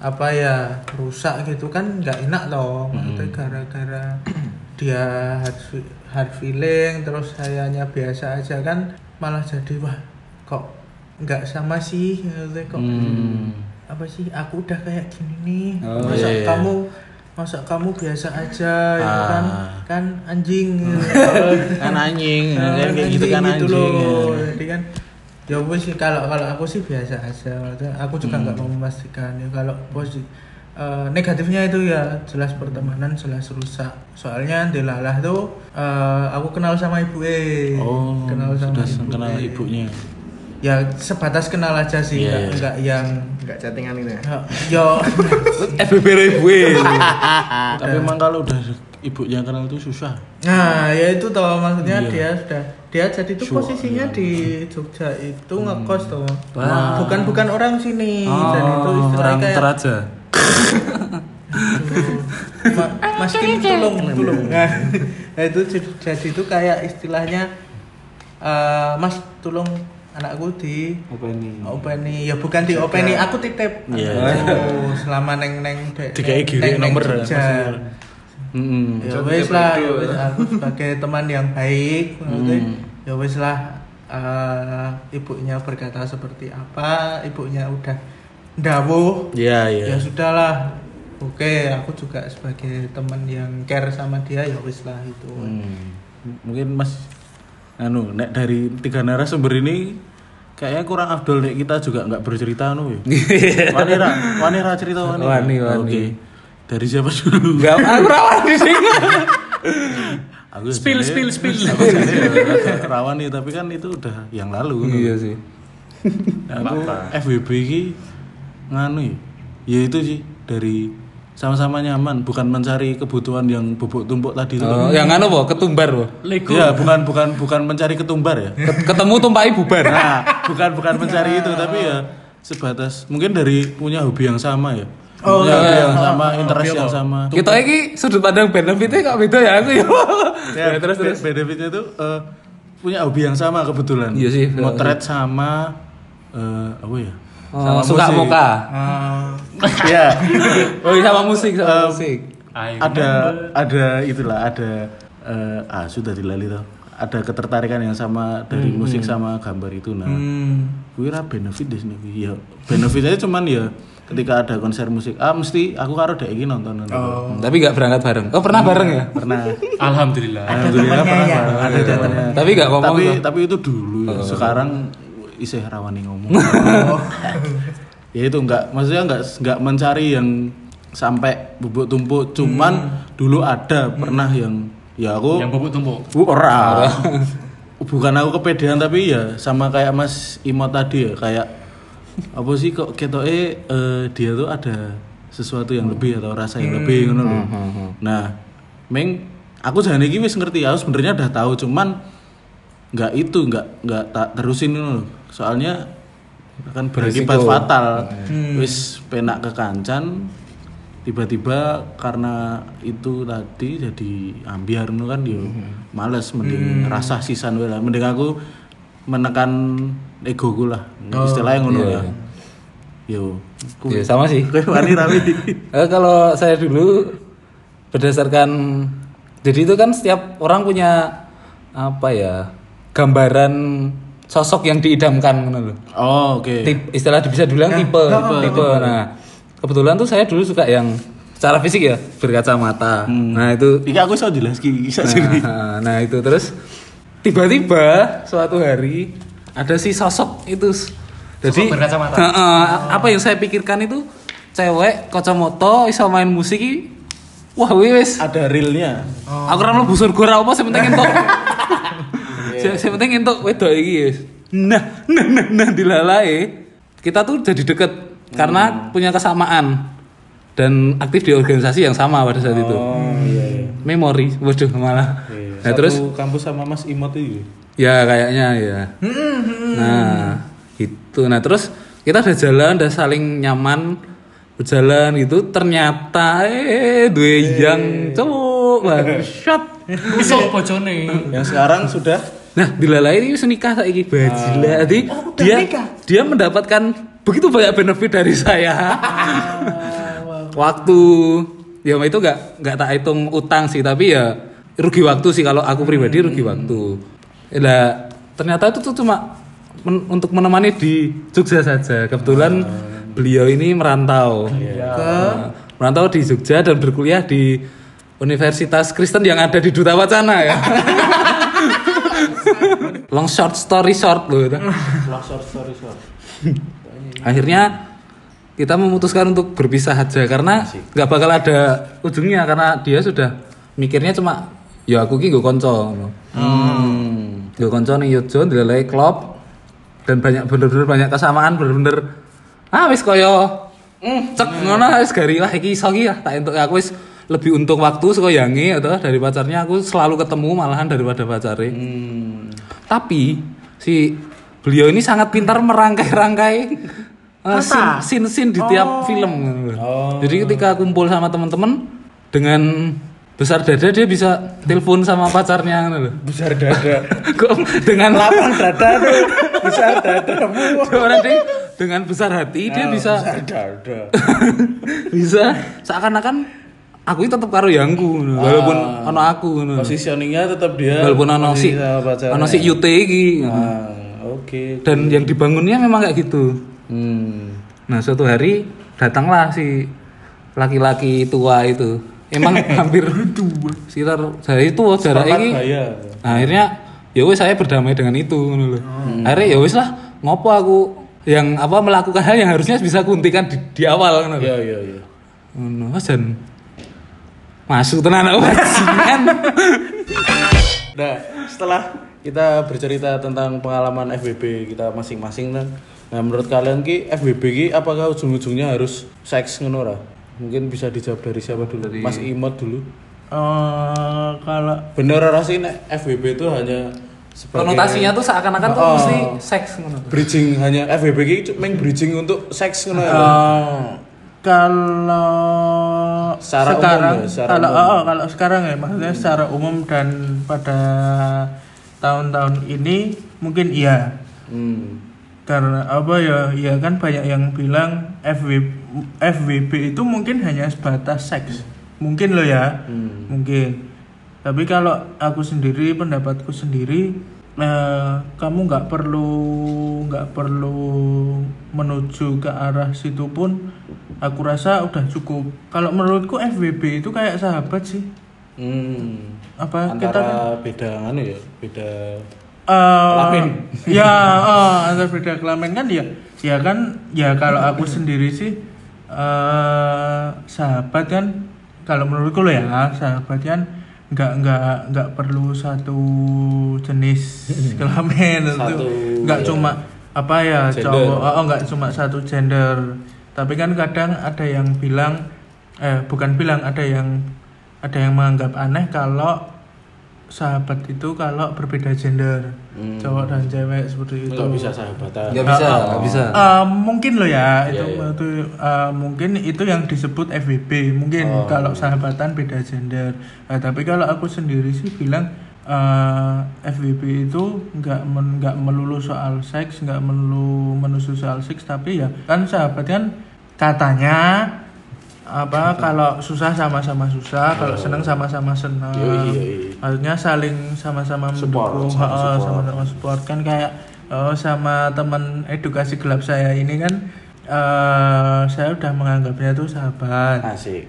apa ya rusak gitu kan nggak enak loh Hmm. maksudnya gara-gara dia hard, fe- hard feeling terus sayanya biasa aja kan malah jadi wah kok nggak sama sih maksudnya kok Hmm. apa sih aku udah kayak gini nih Oh, masa iya, iya. kamu masa kamu biasa aja gitu Ah. kan kan anjing Kan anjing, Nah, kan kayak gitu kan anjing. loh. Jadi kan ya wes sih kalau kalau aku sih biasa aja. Maksudnya Aku juga Hmm. nggak mau memastikan ya kalau posi eh, negatifnya itu ya jelas pertemanan jelas rusak. Soalnya dilalah tuh eh, aku kenal sama ibu eh. Oh, kenal sudah sama ibu kenal E. ibunya. Ya sebatas kenal aja sih, Iya, iya. nggak nggak yang Enggak chattingan ini ya. yo FBB ibu. Tapi emang kalau udah ibunya kenal itu susah. Nah, ya itu toh maksudnya Iya. dia sudah dia jadi tuh posisinya di Jogja itu Hmm. ngekos tuh. Wah. Bukan bukan orang sini dan itu oh, istilahnya orang kayak teraja Ma- Mas Kim tolong tolong. Iya. Nah, nah, itu j- jadi itu kayak istilahnya eh, Mas tolong anakku di openi ya bukan di openi aku titip Iya. Aduh, selama neng neng de- Dikai giri nomor, Jogja. maksudnya. Mm-mm. ya wes lah ya wes aku sebagai teman yang baik maksudnya ya wes lah eh, ibunya berkata seperti apa ibunya udah dawuh Iya, iya. ya sudahlah oke aku juga sebagai teman yang care sama dia ya wes lah itu Hmm. M- Mungkin Mas anu nek dari tiga narasumber ini kayaknya kurang Abdul nek kita juga nggak bercerita anu ya. Wanira, Wanira cerita Wanira. Oh, Wani, Wani. Oke. Dari siapa dulu? nggak aku rawan di sini Aku Spill, jadi- spill, spill. aku jadi agak rawan nih tapi kan itu udah yang lalu ngono. iya sih aku FWB ini nganu ya ya itu sih dari sama-sama nyaman bukan mencari kebutuhan yang bubuk tumpuk tadi itu Oh, yang anu boh ketumbar boh Lego. ya bukan bukan bukan mencari ketumbar ya Ket- ketemu tumpai bubar nah bukan bukan mencari itu tapi ya sebatas mungkin dari punya hobi yang sama ya punya hobi yang sama interest yang sama kita ini sudut pandang benefitnya kok beda ya aku ya ya, terus terus benefitnya itu eh, punya hobi yang sama kebetulan Iya sih. motret sama eh apa ya Oh, suka musik. muka ya oh iya, sama musik sama Eh, musik ada ada itulah ada eh, ah sudah dilali tau ada ketertarikan yang sama dari musik sama gambar itu nah gue ra benefit di sini ya benefit aja cuman ya ketika ada konser musik ah mesti aku karo dek iki nonton nonton tapi nggak berangkat bareng oh pernah bareng ya pernah Alhamdulillah. alhamdulillah pernah Bang. ada temannya tapi nggak ngomong tapi tuh. tapi itu dulu ya. sekarang isih rawani ngomong ya itu nggak maksudnya nggak nggak mencari yang sampai bubuk tumpuk cuman dulu ada pernah yang ya aku Yang bubuk tumpuk. Bu, ora bukan aku kepedean tapi ya sama kayak Mas Imot tadi ya kayak apa sih kok ketoke eh, dia tuh ada sesuatu yang lebih atau rasa yang lebih ngono lho. Nah, Meng aku jane iki wis ngerti aku sebenarnya udah tahu cuman nggak itu nggak nggak tak terusin ngono lho. Soalnya akan berakibat fatal. Wis penak kekancan tiba-tiba karena itu tadi jadi ambiar ngono kan yo males mending rasa sisan wae lah mending aku menekan egoku lah istilahnya ngono ya yo ku- Iya, sama sih kowe wani ra wi? Eh, kalau saya dulu berdasarkan jadi itu kan setiap orang punya apa ya gambaran sosok yang diidamkan gitu loh. oh oke Tip- istilah bisa dibilang tipe, tipe, tipe. Nah, kebetulan tuh saya dulu suka yang secara fisik ya berkacamata. Nah, itu iki aku iso jelas iki iso jadi nah, nah, itu terus tiba-tiba suatu hari ada si sosok itu. Jadi berkacamata. Heeh, apa yang saya pikirkan itu cewek kacamata iso main musik iki, Wah, wih, wis. ada realnya Aku ora mlebu surga ora apa sing penting entuk. Sing sing penting entuk wedok iki wis. Nah, nah, nah, nah dilalae. Kita tuh jadi deket karena punya kesamaan dan aktif di organisasi yang sama pada saat itu. Oh. iya, Memori, waduh malah. Nah, terus Hmm. Satu kampus sama Mas Imot itu Ya kayaknya ya. Nah gitu. Nah terus kita udah jalan, udah saling nyaman berjalan gitu. Ternyata eh dua yang cowok shot. Besok bojone. yang sekarang sudah Nah dilalai ini senikah saiki bajila. Jadi dia dia mendapatkan begitu banyak benefit dari saya. waktu ya itu nggak nggak tak hitung utang sih tapi ya rugi waktu sih kalau aku pribadi rugi waktu lah ternyata itu tuh cuma men- untuk menemani di Jogja saja kebetulan beliau ini merantau Nah, merantau di Jogja dan berkuliah di Universitas Kristen yang ada di Duta Wacana ya long short story short loh gitu. itu. akhirnya kita memutuskan untuk berpisah aja karena nggak bakal ada ujungnya karena dia sudah mikirnya cuma ya aku ki nggo konco hmm. gue konco nih yojo dilalai klop dan banyak bener-bener banyak kesamaan bener-bener ah wis koyo mm, cek ngono wis gari wah iki iso ki lah tak entuk aku wis lebih untung waktu saka yangi atau dari pacarnya aku selalu ketemu malahan daripada pacare tapi si beliau ini sangat pintar merangkai-rangkai eh, scene- scene-scene di tiap film. Oh. Jadi ketika kumpul sama teman-teman dengan besar dada dia bisa telepon sama pacarnya gitu loh. besar dada Kok dengan lapang dada tuh besar dadamu Orang dia dengan besar hati dia bisa besar dada bisa seakan-akan aku ini tetap karo yangku gitu. walaupun Ah. ono aku gitu. positioningnya tetap dia walaupun ono si sama pacarnya. ono si Yute iki gitu. Ah, oke dan yang dibangunnya memang kayak gitu hmm Nah suatu hari datanglah si laki-laki tua itu. Emang hampir sekitar dari itu jarak ini. bahaya Nah, akhirnya ya wes saya berdamai dengan itu ngono lho. Hmm. Akhirnya ya wes lah ngopo aku yang apa melakukan hal yang harusnya bisa kuntikan di, di awal ngono lho. ya ya ya Kan? Ngono, Mas, dan masuk tenan aku bajingan. Nah, setelah kita bercerita tentang pengalaman FBB kita masing-masing kan. Nah, menurut kalian ki FBB ki apakah ujung-ujungnya harus seks ngono ora? Mungkin bisa dijawab dari siapa dulu? Mas Imot dulu. Eh, kalau Bener ora sih nek FBB itu hanya sebagai Konotasinya tuh seakan-akan tuh Oh. mesti seks ngono. bridging hanya FBB ki cu- main bridging untuk seks ngono ya. eh, kalau Secara umum sekarang ya, secara kalau umum. oh, kalau sekarang ya maksudnya secara umum dan pada tahun-tahun ini mungkin iya Hmm. karena apa ya ya kan banyak yang bilang FW, FWB itu mungkin hanya sebatas seks mungkin lo ya Hmm. mungkin tapi kalau aku sendiri pendapatku sendiri eh, kamu nggak perlu nggak perlu menuju ke arah situ pun aku rasa udah cukup kalau menurutku FWB itu kayak sahabat sih Hmm. apa kita Antara beda anu ya, beda Eh, Kelamin. Ya, eh, antar beda kelamin kan ya. Ya kan, ya kalau aku sendiri sih eh sahabat kan kalau menurutku lo ya, sahabat kan nggak nggak nggak perlu satu jenis kelamin Satu, itu nggak ya. cuma apa ya Gender. cowok oh oh, nggak cuma satu gender tapi kan kadang ada yang bilang eh bukan bilang ada yang ada yang menganggap aneh kalau sahabat itu kalau berbeda gender Hmm. cowok dan cewek seperti itu nggak bisa sahabatan. Enggak bisa, Oh. enggak bisa. Eh, mungkin lo ya Iya, itu iya. itu, eh, mungkin itu yang disebut FWB mungkin Oh. kalau sahabatan beda gender Eh, tapi kalau aku sendiri sih bilang eh, FWB itu nggak men- nggak melulu soal seks nggak melulu menuju soal seks tapi ya kan sahabat kan katanya apa kalau susah sama-sama susah kalau seneng sama-sama seneng Oh. Yoi, yoi. maksudnya saling sama-sama Support, mendukung sama ha-ha, support. sama-sama support kan kayak oh, sama teman edukasi gelap saya ini kan eh, saya udah menganggapnya tuh sahabat Asik.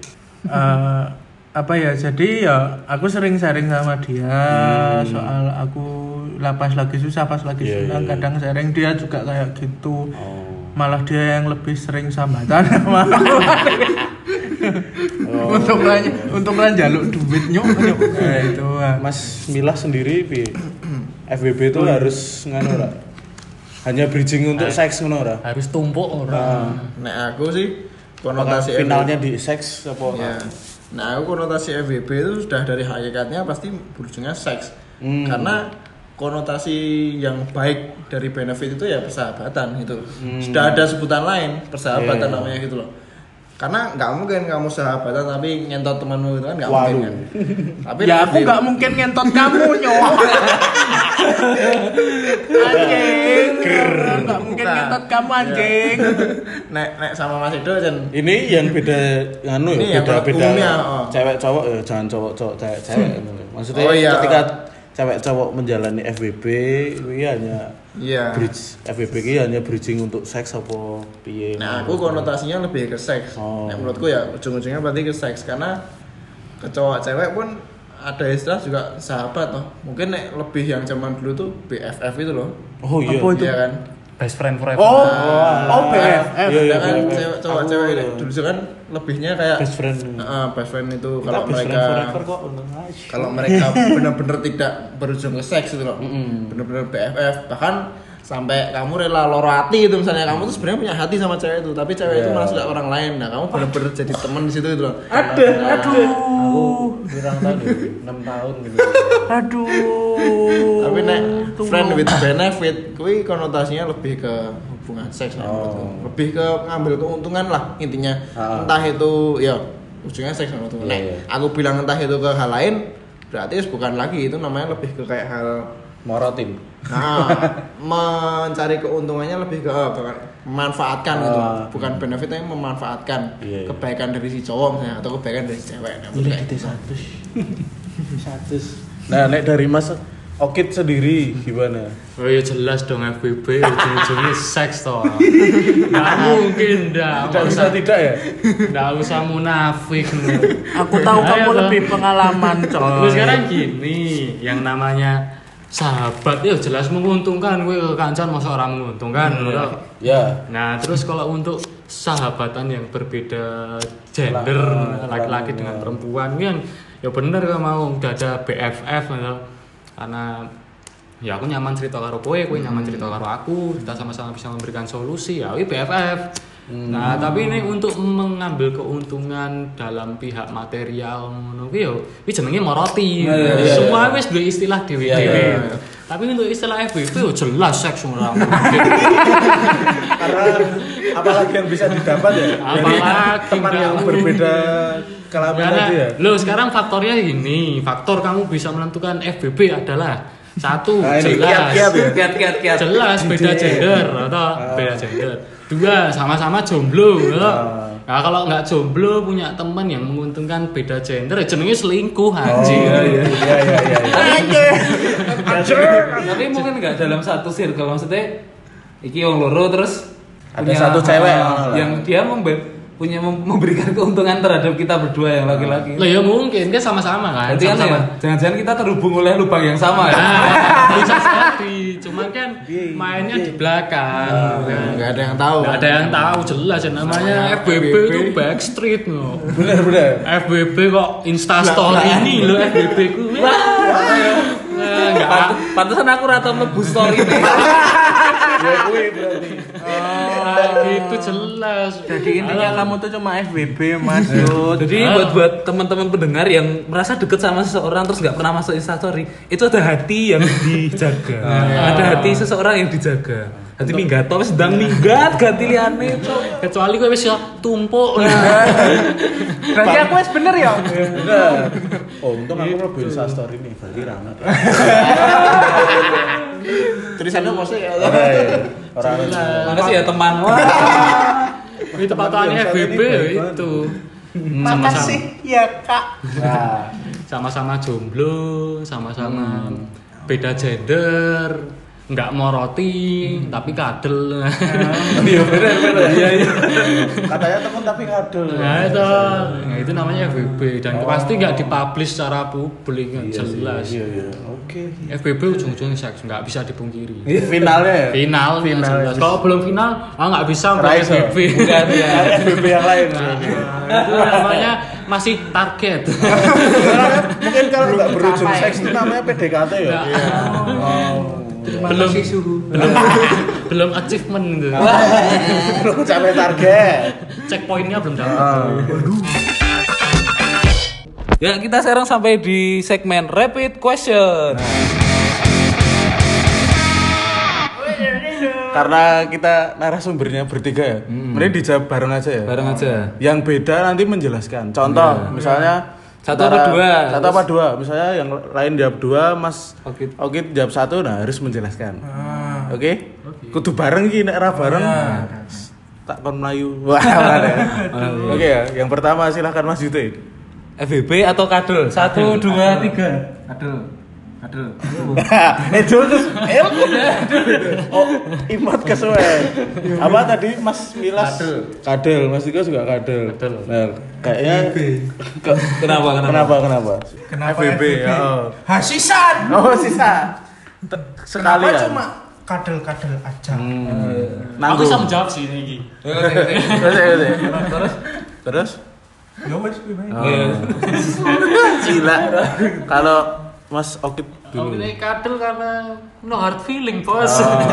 Eh, apa ya jadi ya aku sering sharing sama dia soal aku lapas lagi susah pas lagi Hmm. Iya, senang iya, iya. kadang sharing dia juga kayak gitu Oh. malah dia yang lebih sering sambatan sama aku. Oh. untuk lan untuk lan jaluk duit nyuk nyuk nah, itu ah. Mas Milah sendiri pi FBB itu harus nganu ora? Hanya bridging Nah. untuk seks ngono ora? harus tumpuk orang Ah. Nek aku sih Apakah konotasi finalnya di seks apa? Ya. Nah, aku konotasi FWB itu sudah dari hakikatnya pasti berujungnya seks. Hmm. Karena konotasi yang baik dari benefit itu ya persahabatan gitu. Sudah ada sebutan lain persahabatan Iya. namanya gitu loh. Karena nggak mungkin kamu sahabatan tapi nyentot temanmu itu kan nggak Waduh. mungkin kan. Tapi ya aku FWB nggak mungkin ngentot kamu nyok anjing Aku nggak Bukan. mungkin ngentot Ya. kamu anjing nek nek sama Mas Edo Jen. Ini yang beda nganu Ini ya, yang beda beda umumnya, oh. cewek cowok eh, jangan cowok cowok cewek cewek. ya. Maksudnya Oh, iya. ketika cewek cowok menjalani FBB ini ya hanya Iya. bridge FBB ini ya hanya bridging untuk seks apa piye? Nah, aku konotasinya lebih ke seks. Oh. Nah, menurutku ya ujung-ujungnya berarti ke seks karena ke cowok cewek pun ada istilah juga sahabat loh. Mungkin nek lebih yang zaman dulu tuh BFF itu loh. Oh iya. Apa itu? Iya kan? best friend forever oh alah. oh BFF Iya, iya, BFF. Sedangkan kan, cewek- cowok cewek nek dulu kan lebihnya kayak Oh. Best friend. Heeh, best friend itu Kita kalau best friend mereka forever kok. Nice. kalau mereka benar-benar tidak berujung ke seks itu loh. Benar-benar BFF bahkan sampai kamu rela loro hati itu misalnya kamu tuh sebenarnya punya hati sama cewek itu tapi cewek itu Iya. malah suka orang lain nah kamu benar-benar jadi teman di situ gitu loh ada aduh Kurang tahun ya, 6 tahun gitu. aduh tapi nek Tuh. friend with benefit kui konotasinya lebih ke hubungan seks nek menurutku. lebih ke ngambil keuntungan lah intinya Oh. Ah. entah itu ya ujungnya seks menurutku Iya, nek iya. aku bilang entah itu ke hal lain berarti bukan lagi itu namanya lebih ke kayak hal Morotin. Nah, mencari keuntungannya lebih ke bukan memanfaatkan gitu, Ah. bukan benefit tapi memanfaatkan Iya, iya. kebaikan dari si cowok misalnya atau kebaikan dari si cewek. Nah, menurut saya. satu satu Nah, nek dari Mas Okit sendiri gimana? Oh ya jelas dong FBB ujung-ujungnya seks toh. Nggak mungkin dah. Tidak bisa tidak ya? Nggak usah munafik lu. aku tahu Ayo, kamu Bang. lebih pengalaman Oh, Lu coy sekarang gini, yang namanya sahabat ya jelas menguntungkan gue ke kancan masa orang menguntungkan menurut aku. Ya. Nah, terus kalau untuk sahabatan yang berbeda gender, Lah, laki-laki dengan perempuan, kan ya bener gak mau udah ada BFF, misal. karena ya aku nyaman cerita karo kowe kowe nyaman cerita karo aku kita sama-sama bisa memberikan solusi ya we BFF nah tapi ini untuk mengambil keuntungan dalam pihak material ngono kuwi yo kuwi jenenge moroti semua wis duwe istilah dewe-dewe tapi untuk istilah FBB yo ya jelas seks ora karena apalagi yang bisa didapat ya dari Apalagi, teman Mbak. yang berbeda kelamin Karena, tadi ya Loh, sekarang faktornya gini, faktor kamu bisa menentukan FBB adalah satu Nah, ini jelas kiat-kiat ya. Ah. kiat kiat kiat jelas beda gender atau beda gender. Dua sama-sama jomblo. atau? Ah. Nah, kalau nggak jomblo punya teman yang menguntungkan beda gender, ya jenenge selingkuh anjing. Oh, iya iya iya tapi mungkin nggak dalam satu circle maksudnya iki wong loro terus Ada satu cewek, ngono lah. yang dia membe- punya mem- memberikan keuntungan terhadap kita berdua yang laki-laki Lah ya mungkin kan sama-sama kan. Berarti kan ya, sama-sama. jangan-jangan kita terhubung oleh lubang yang sama ya? Nah, bisa jadi, cuman kan Iya, mainnya di belakang. kan. nggak ada yang tahu Nggak ada yang tahu jelas yang namanya FBB itu backstreet no. bener bener FBB kok instastory ini lo FBB ku. Wah. Wah, nggak Pant- Pantesan aku rata mlebu story ini. apa gitu jelas. Jadi intinya kamu tuh cuma FBB Iya, Mas Yud. Jadi buat buat teman-teman pendengar yang merasa deket sama seseorang terus nggak pernah masuk instastory, itu ada hati yang dijaga. Ada hati seseorang yang dijaga. Hati minggat, tapi sedang minggat ganti liane itu. Kecuali gue wis ya tumpuk. Berarti aku wis bener ya. Bener. Oh, untung aku lebih Insta story nih, berarti rame. Tulisannya apa sih? ya. Iya, Orang Makasih ya teman. Wah. Ini tepatannya Teman-teman FBB yang ya satu ini baik itu. Makasih ya Kak. nah sama-sama jomblo, sama-sama beda gender, nggak moroti, tapi kadel. Iya benar benar. Iya iya. katanya temen tapi kadul Nah itu, Oh. nah, itu namanya FBB dan pasti nggak dipublish secara publik yang jelas. Iya, iya. Oke. FBB ujung-ujungnya seks nggak bisa dipungkiri. Iya. finalnya ya Iya. Final, iya. jelas. Kalau belum final, ah nggak bisa buat Raiso. FBB. FBB yang lain iya. Nah, itu namanya masih target. mungkin kalau nggak berujung ya? seks itu namanya PDKT ya Nggak. Oh. Belum belum, suhu. belum, belum achievement gitu. belum capai Oh. target Checkpointnya belum dapat. Ya kita sekarang sampai di segmen rapid question. Karena kita narasumbernya bertiga ya. Hmm. Mending dijawab bareng aja ya. Bareng aja. Yang beda nanti menjelaskan. Contoh, misalnya Iya. Satu apa antara- dua? Satu apa dua? Misalnya yang lain jawab dua, Mas Oke. Oke jawab satu, nah harus menjelaskan. Ah. Oke? Iya. Kudu bareng iki nek ora bareng. Tak kon melayu. Wah, ora ada. Oke ya, yang pertama silahkan Mas Yute. FBB atau kadul? Satu, dua, tiga. Uh. eh dulu terus eh Iya, oh imot kesuwen Apa tadi Mas Milas? Kadel. Mas Diko juga kadel. Nah, kayaknya Ke- Kenapa? Kenapa? kenapa kenapa? Kenapa FBB, ya. Hasisan. Oh, sisa. Kenapa Sekali ya. cuma kadel-kadel aja? Aku bisa menjawab sih ini. Terus, terus, terus. Terus? Ya wis kuwi wae. Iya. Gila. Kalau Mas Okit Aku dulu ini kadel karena no hard feeling bos. Ah.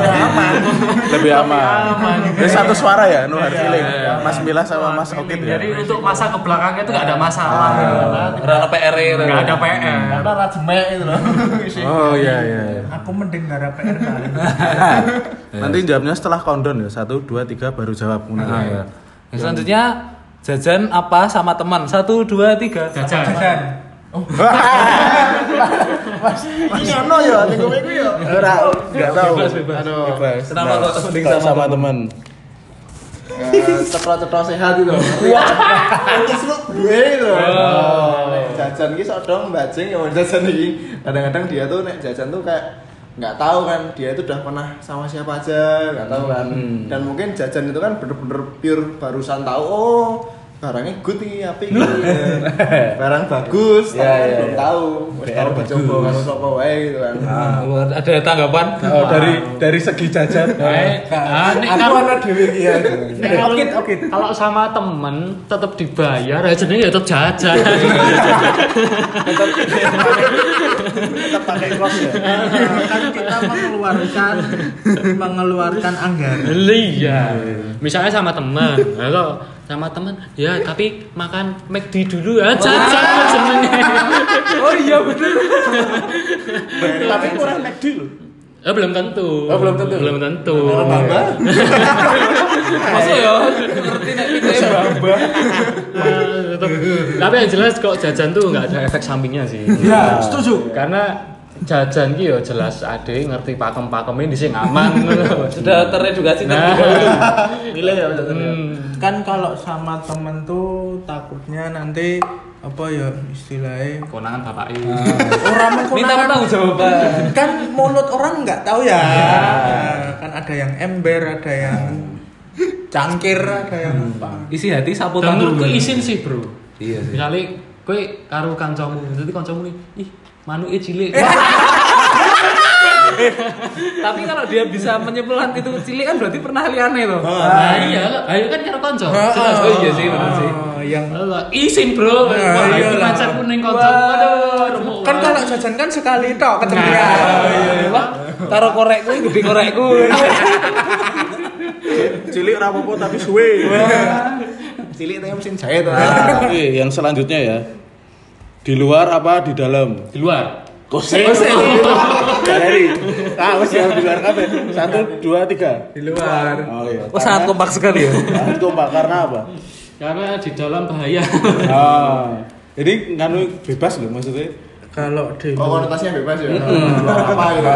lebih aman. Aman. Ini satu suara ya, no hard feeling. Mas Mila sama Mas Okit ya. Jadi untuk masa kebelakangnya itu nggak ada Ah. masalah. gitu kan. Rana PR -nya. Nggak ada PR. gitu Oh iya iya. iya. Aku mending nggak ada PR kali. Nanti jawabnya setelah kondon ya. Satu, dua, tiga baru jawab. Nah, ya. Yang selanjutnya jajan apa sama teman? Satu, dua, tiga. Jajan. Dan ini ono ya minggu minggu ya ora nggak tahu Bebas, bebas. Aduh. bebas Nah, Kenapa kok mending Sama, sama? sama teman. cetro cetro Eh, sehat itu terus lu gue itu jajan ini sok dong bajing ya jajan ini kadang-kadang dia tuh nek jajan tuh kayak nggak tahu kan dia itu udah pernah sama siapa Hmm. aja nggak tahu kan dan mungkin jajan itu kan bener-bener pure barusan tahu oh barangnya good iki apik iki. Barang bagus, Ya, tapi Iya, kan iya, belum iya. tahu. Wis tau dicoba karo sapa wae gitu kan. Ah. ada tanggapan Oh, dari dari segi jajan. Ya, Ah, nek Aku kalau- ana dhewe iki ya. nek kalau- Kalau sama temen tetap dibayar, ya jadi tetap jajan. Tetep pakai cross ya. kan kita mengeluarkan mengeluarkan anggaran Iya. Misalnya sama teman, kalau sama teman, ya tapi makan McD dulu ya, jajan jenenge. oh iya bener Tapi kurang McD lho. Eh belum tentu. Oh, belum tentu. Belum tentu. Iya. Tambah. masuk ya ngerti nek ya, pikir Eh, tetep- tapi yang jelas kok jajan tuh nggak ada efek sampingnya sih. Ya, setuju. Karena jajan gitu ya jelas ade ngerti pakem-pakemnya di sing aman. sudah teredukasi Nah, Nilai ya Mas Anton, ya. kan kalau sama temen tuh takutnya nanti apa ya istilahnya konangan bapak orang mengkonangan- minta pertanggung jawaban kan mulut orang nggak tahu ya kan ada yang ember ada yang cangkir ada yang apa isi hati sapu Dan tangan menurutku isin sih bro. iya sih Misalnya kowe karo kancamu, jadi kancamu nih, ih manuke cilik. tapi kalau dia bisa menyebelan itu cilik kan berarti pernah liane loh Nah, iya, ayo kan karo kanca. Jelas. oh iya sih bener sih Oh, Ah, yang Lah, Isin bro, Nah, wah iya iki lah. pacarku ning kanca. Aduh, remuk kan banget. kalau jajan kan sekali tok Nah, iya. ketemuan Wah, taruh korek gue, gede korek gue. Cilik ora apa-apa tapi suwe. Cilik tapi mesin jahit. Oke, Nah, yang selanjutnya ya. Di luar apa di dalam? di luar. Kose. Kose. Dari. Ah, wis yang di luar kabeh. Satu, dua, tiga. di luar Oh iya. Wah, sangat kompak sekali ya. Sangat kompak karena apa? Karena di dalam bahaya. Ah. Jadi nganu bebas loh maksudnya. kalau di Oh, luar konotasinya bebas ya. Di luar apa gitu.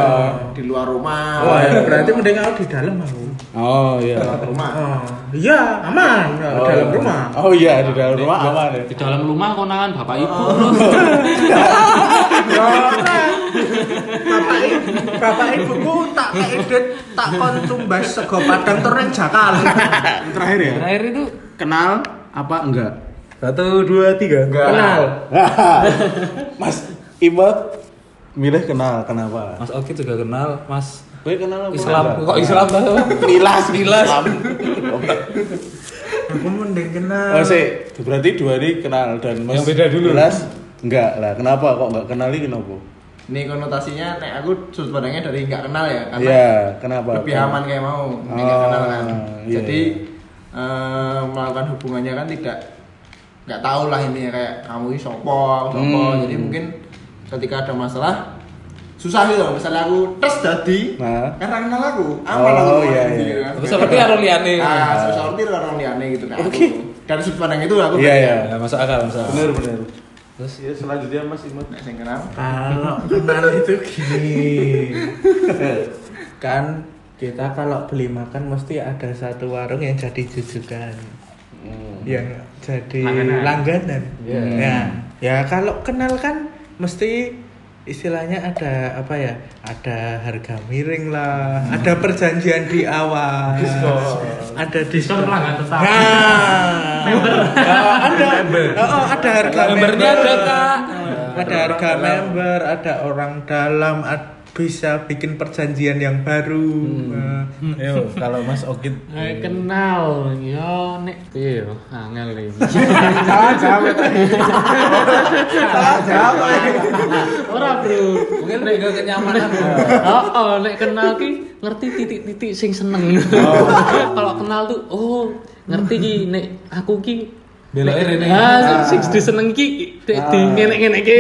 Di luar rumah. oh, Ah. ya, berarti mending aku di dalam aku Oh di iya. luar rumah. oh iya aman di dalam rumah Oh iya, di dalam rumah aman ya. di dalam rumah konangan bapak Oh. ibu. bapak i- bapak ibuku tak kayak duit tak kon tumbas sego padang terus jakal Yang terakhir ya. Terakhir itu Kenal apa enggak? satu, dua, tiga. Kenal. Mas Ibot milih kenal kenapa? Mas Oki juga kenal, Mas Gue kenal apa? Islam. enggak? Kok Islam tuh? Nilas, nilas. Oke. aku mending kenal Oh sih, berarti dua ini kenal dan mas Yang beda dulu. Nilas enggak lah. Kenapa kok enggak kenal ini kenapa? Ini konotasinya nek aku sudut pandangnya dari nggak kenal ya karena Iya, kenapa? lebih aman kayak mau ini nggak Oh, kenal kan. iya, Jadi iya. eh, melakukan hubungannya kan tidak nggak tahu lah ini kayak kamu ini sopo, aku sopo. Hmm. Jadi mungkin ketika ada masalah susah gitu loh. Misalnya aku tes dadi Nah. karena kenal aku, aman Oh, aku sama iya, iya. dadi gitu kan. Terus seperti Arul Liane. Ah, seperti orang liane gitu kan. Oke. Dari sudut pandang itu aku. Iya pengen. iya. Ya, masuk akal, masuk akal. Bener bener. Terus ya selanjutnya Mas Imot. Nek sing kenal. kalau kenal itu gini kan kita kalau beli makan mesti ada satu warung yang jadi jujukan yang jadi Langganan. langganan, ya ya kalau kenal kan mesti istilahnya ada apa ya ada harga miring lah ada perjanjian di awal ada diskon Diskon pelanggan tetap. nah Oh, ada oh, oh, ada harga Membernya member. ada, Kak. ada harga member ada orang dalam ad- bisa bikin perjanjian yang baru Nah, Yo, kalau Mas Okit Eh, kenal yo nek piye yo angel iki. Salah jawab. Salah jawab. Ora bro. Mungkin mereka kenyamanan. Oh, oh, nek kenal ki ngerti titik-titik sing seneng. Kalau kenal tuh oh ngerti ki nek aku ki Beloknya Rene. Ah, sing diseneng ki di di ngene-ngene ki.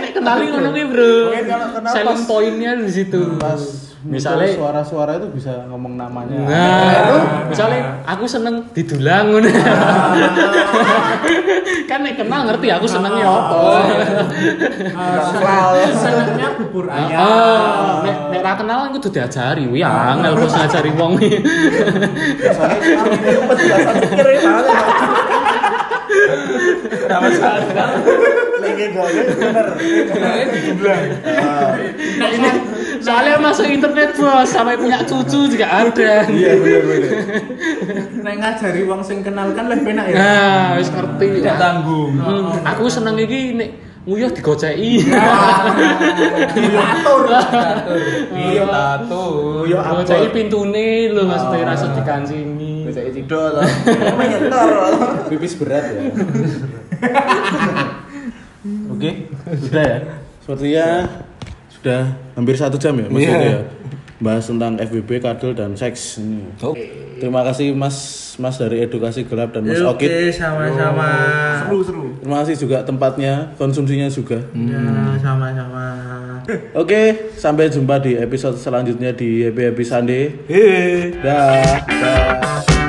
Nek kenal ki ngono ki, Bro. Mungkin kalau kenal Selling pas- point-nya di situ. pas Misalnya- misalnya suara-suara itu bisa ngomong namanya. Nah, misalnya aku seneng didulang ngono. kan nek kenal ngerti aku senengnya apa. senangnya bubur ayam Ah, nek nek ra kenal aku kudu diajari. Wih, angel kok ngajari wong iki. Penjelasan keren banget. Lagi bener. Nah, Nek- Soalnya masuk internet bos, sampai punya cucu juga ada. iya bener bener Nek ngajari wong sing kenal kan lebih enak ya. Nah, wis ngerti. tidak tanggung Oh, Hmm, aku seneng iki nek nguyuh digoceki. diatur iya tato yo apa Digoceki pintune lho maksudnya rasa Ah. dikancingi. bisa cidol lah menyetor pipis berat ya oke sudah ya sepertinya sudah hampir satu jam ya maksudnya ya bahas tentang FBB, kadal dan seks ini. Terima kasih Mas Mas dari Edukasi Gelap dan Mas Oke, Okit. sama-sama. seru seru Terima kasih juga tempatnya, konsumsinya juga. Ya, sama-sama. Oke, sampai jumpa di episode selanjutnya di Happy Happy Sunday. Dah. Dah.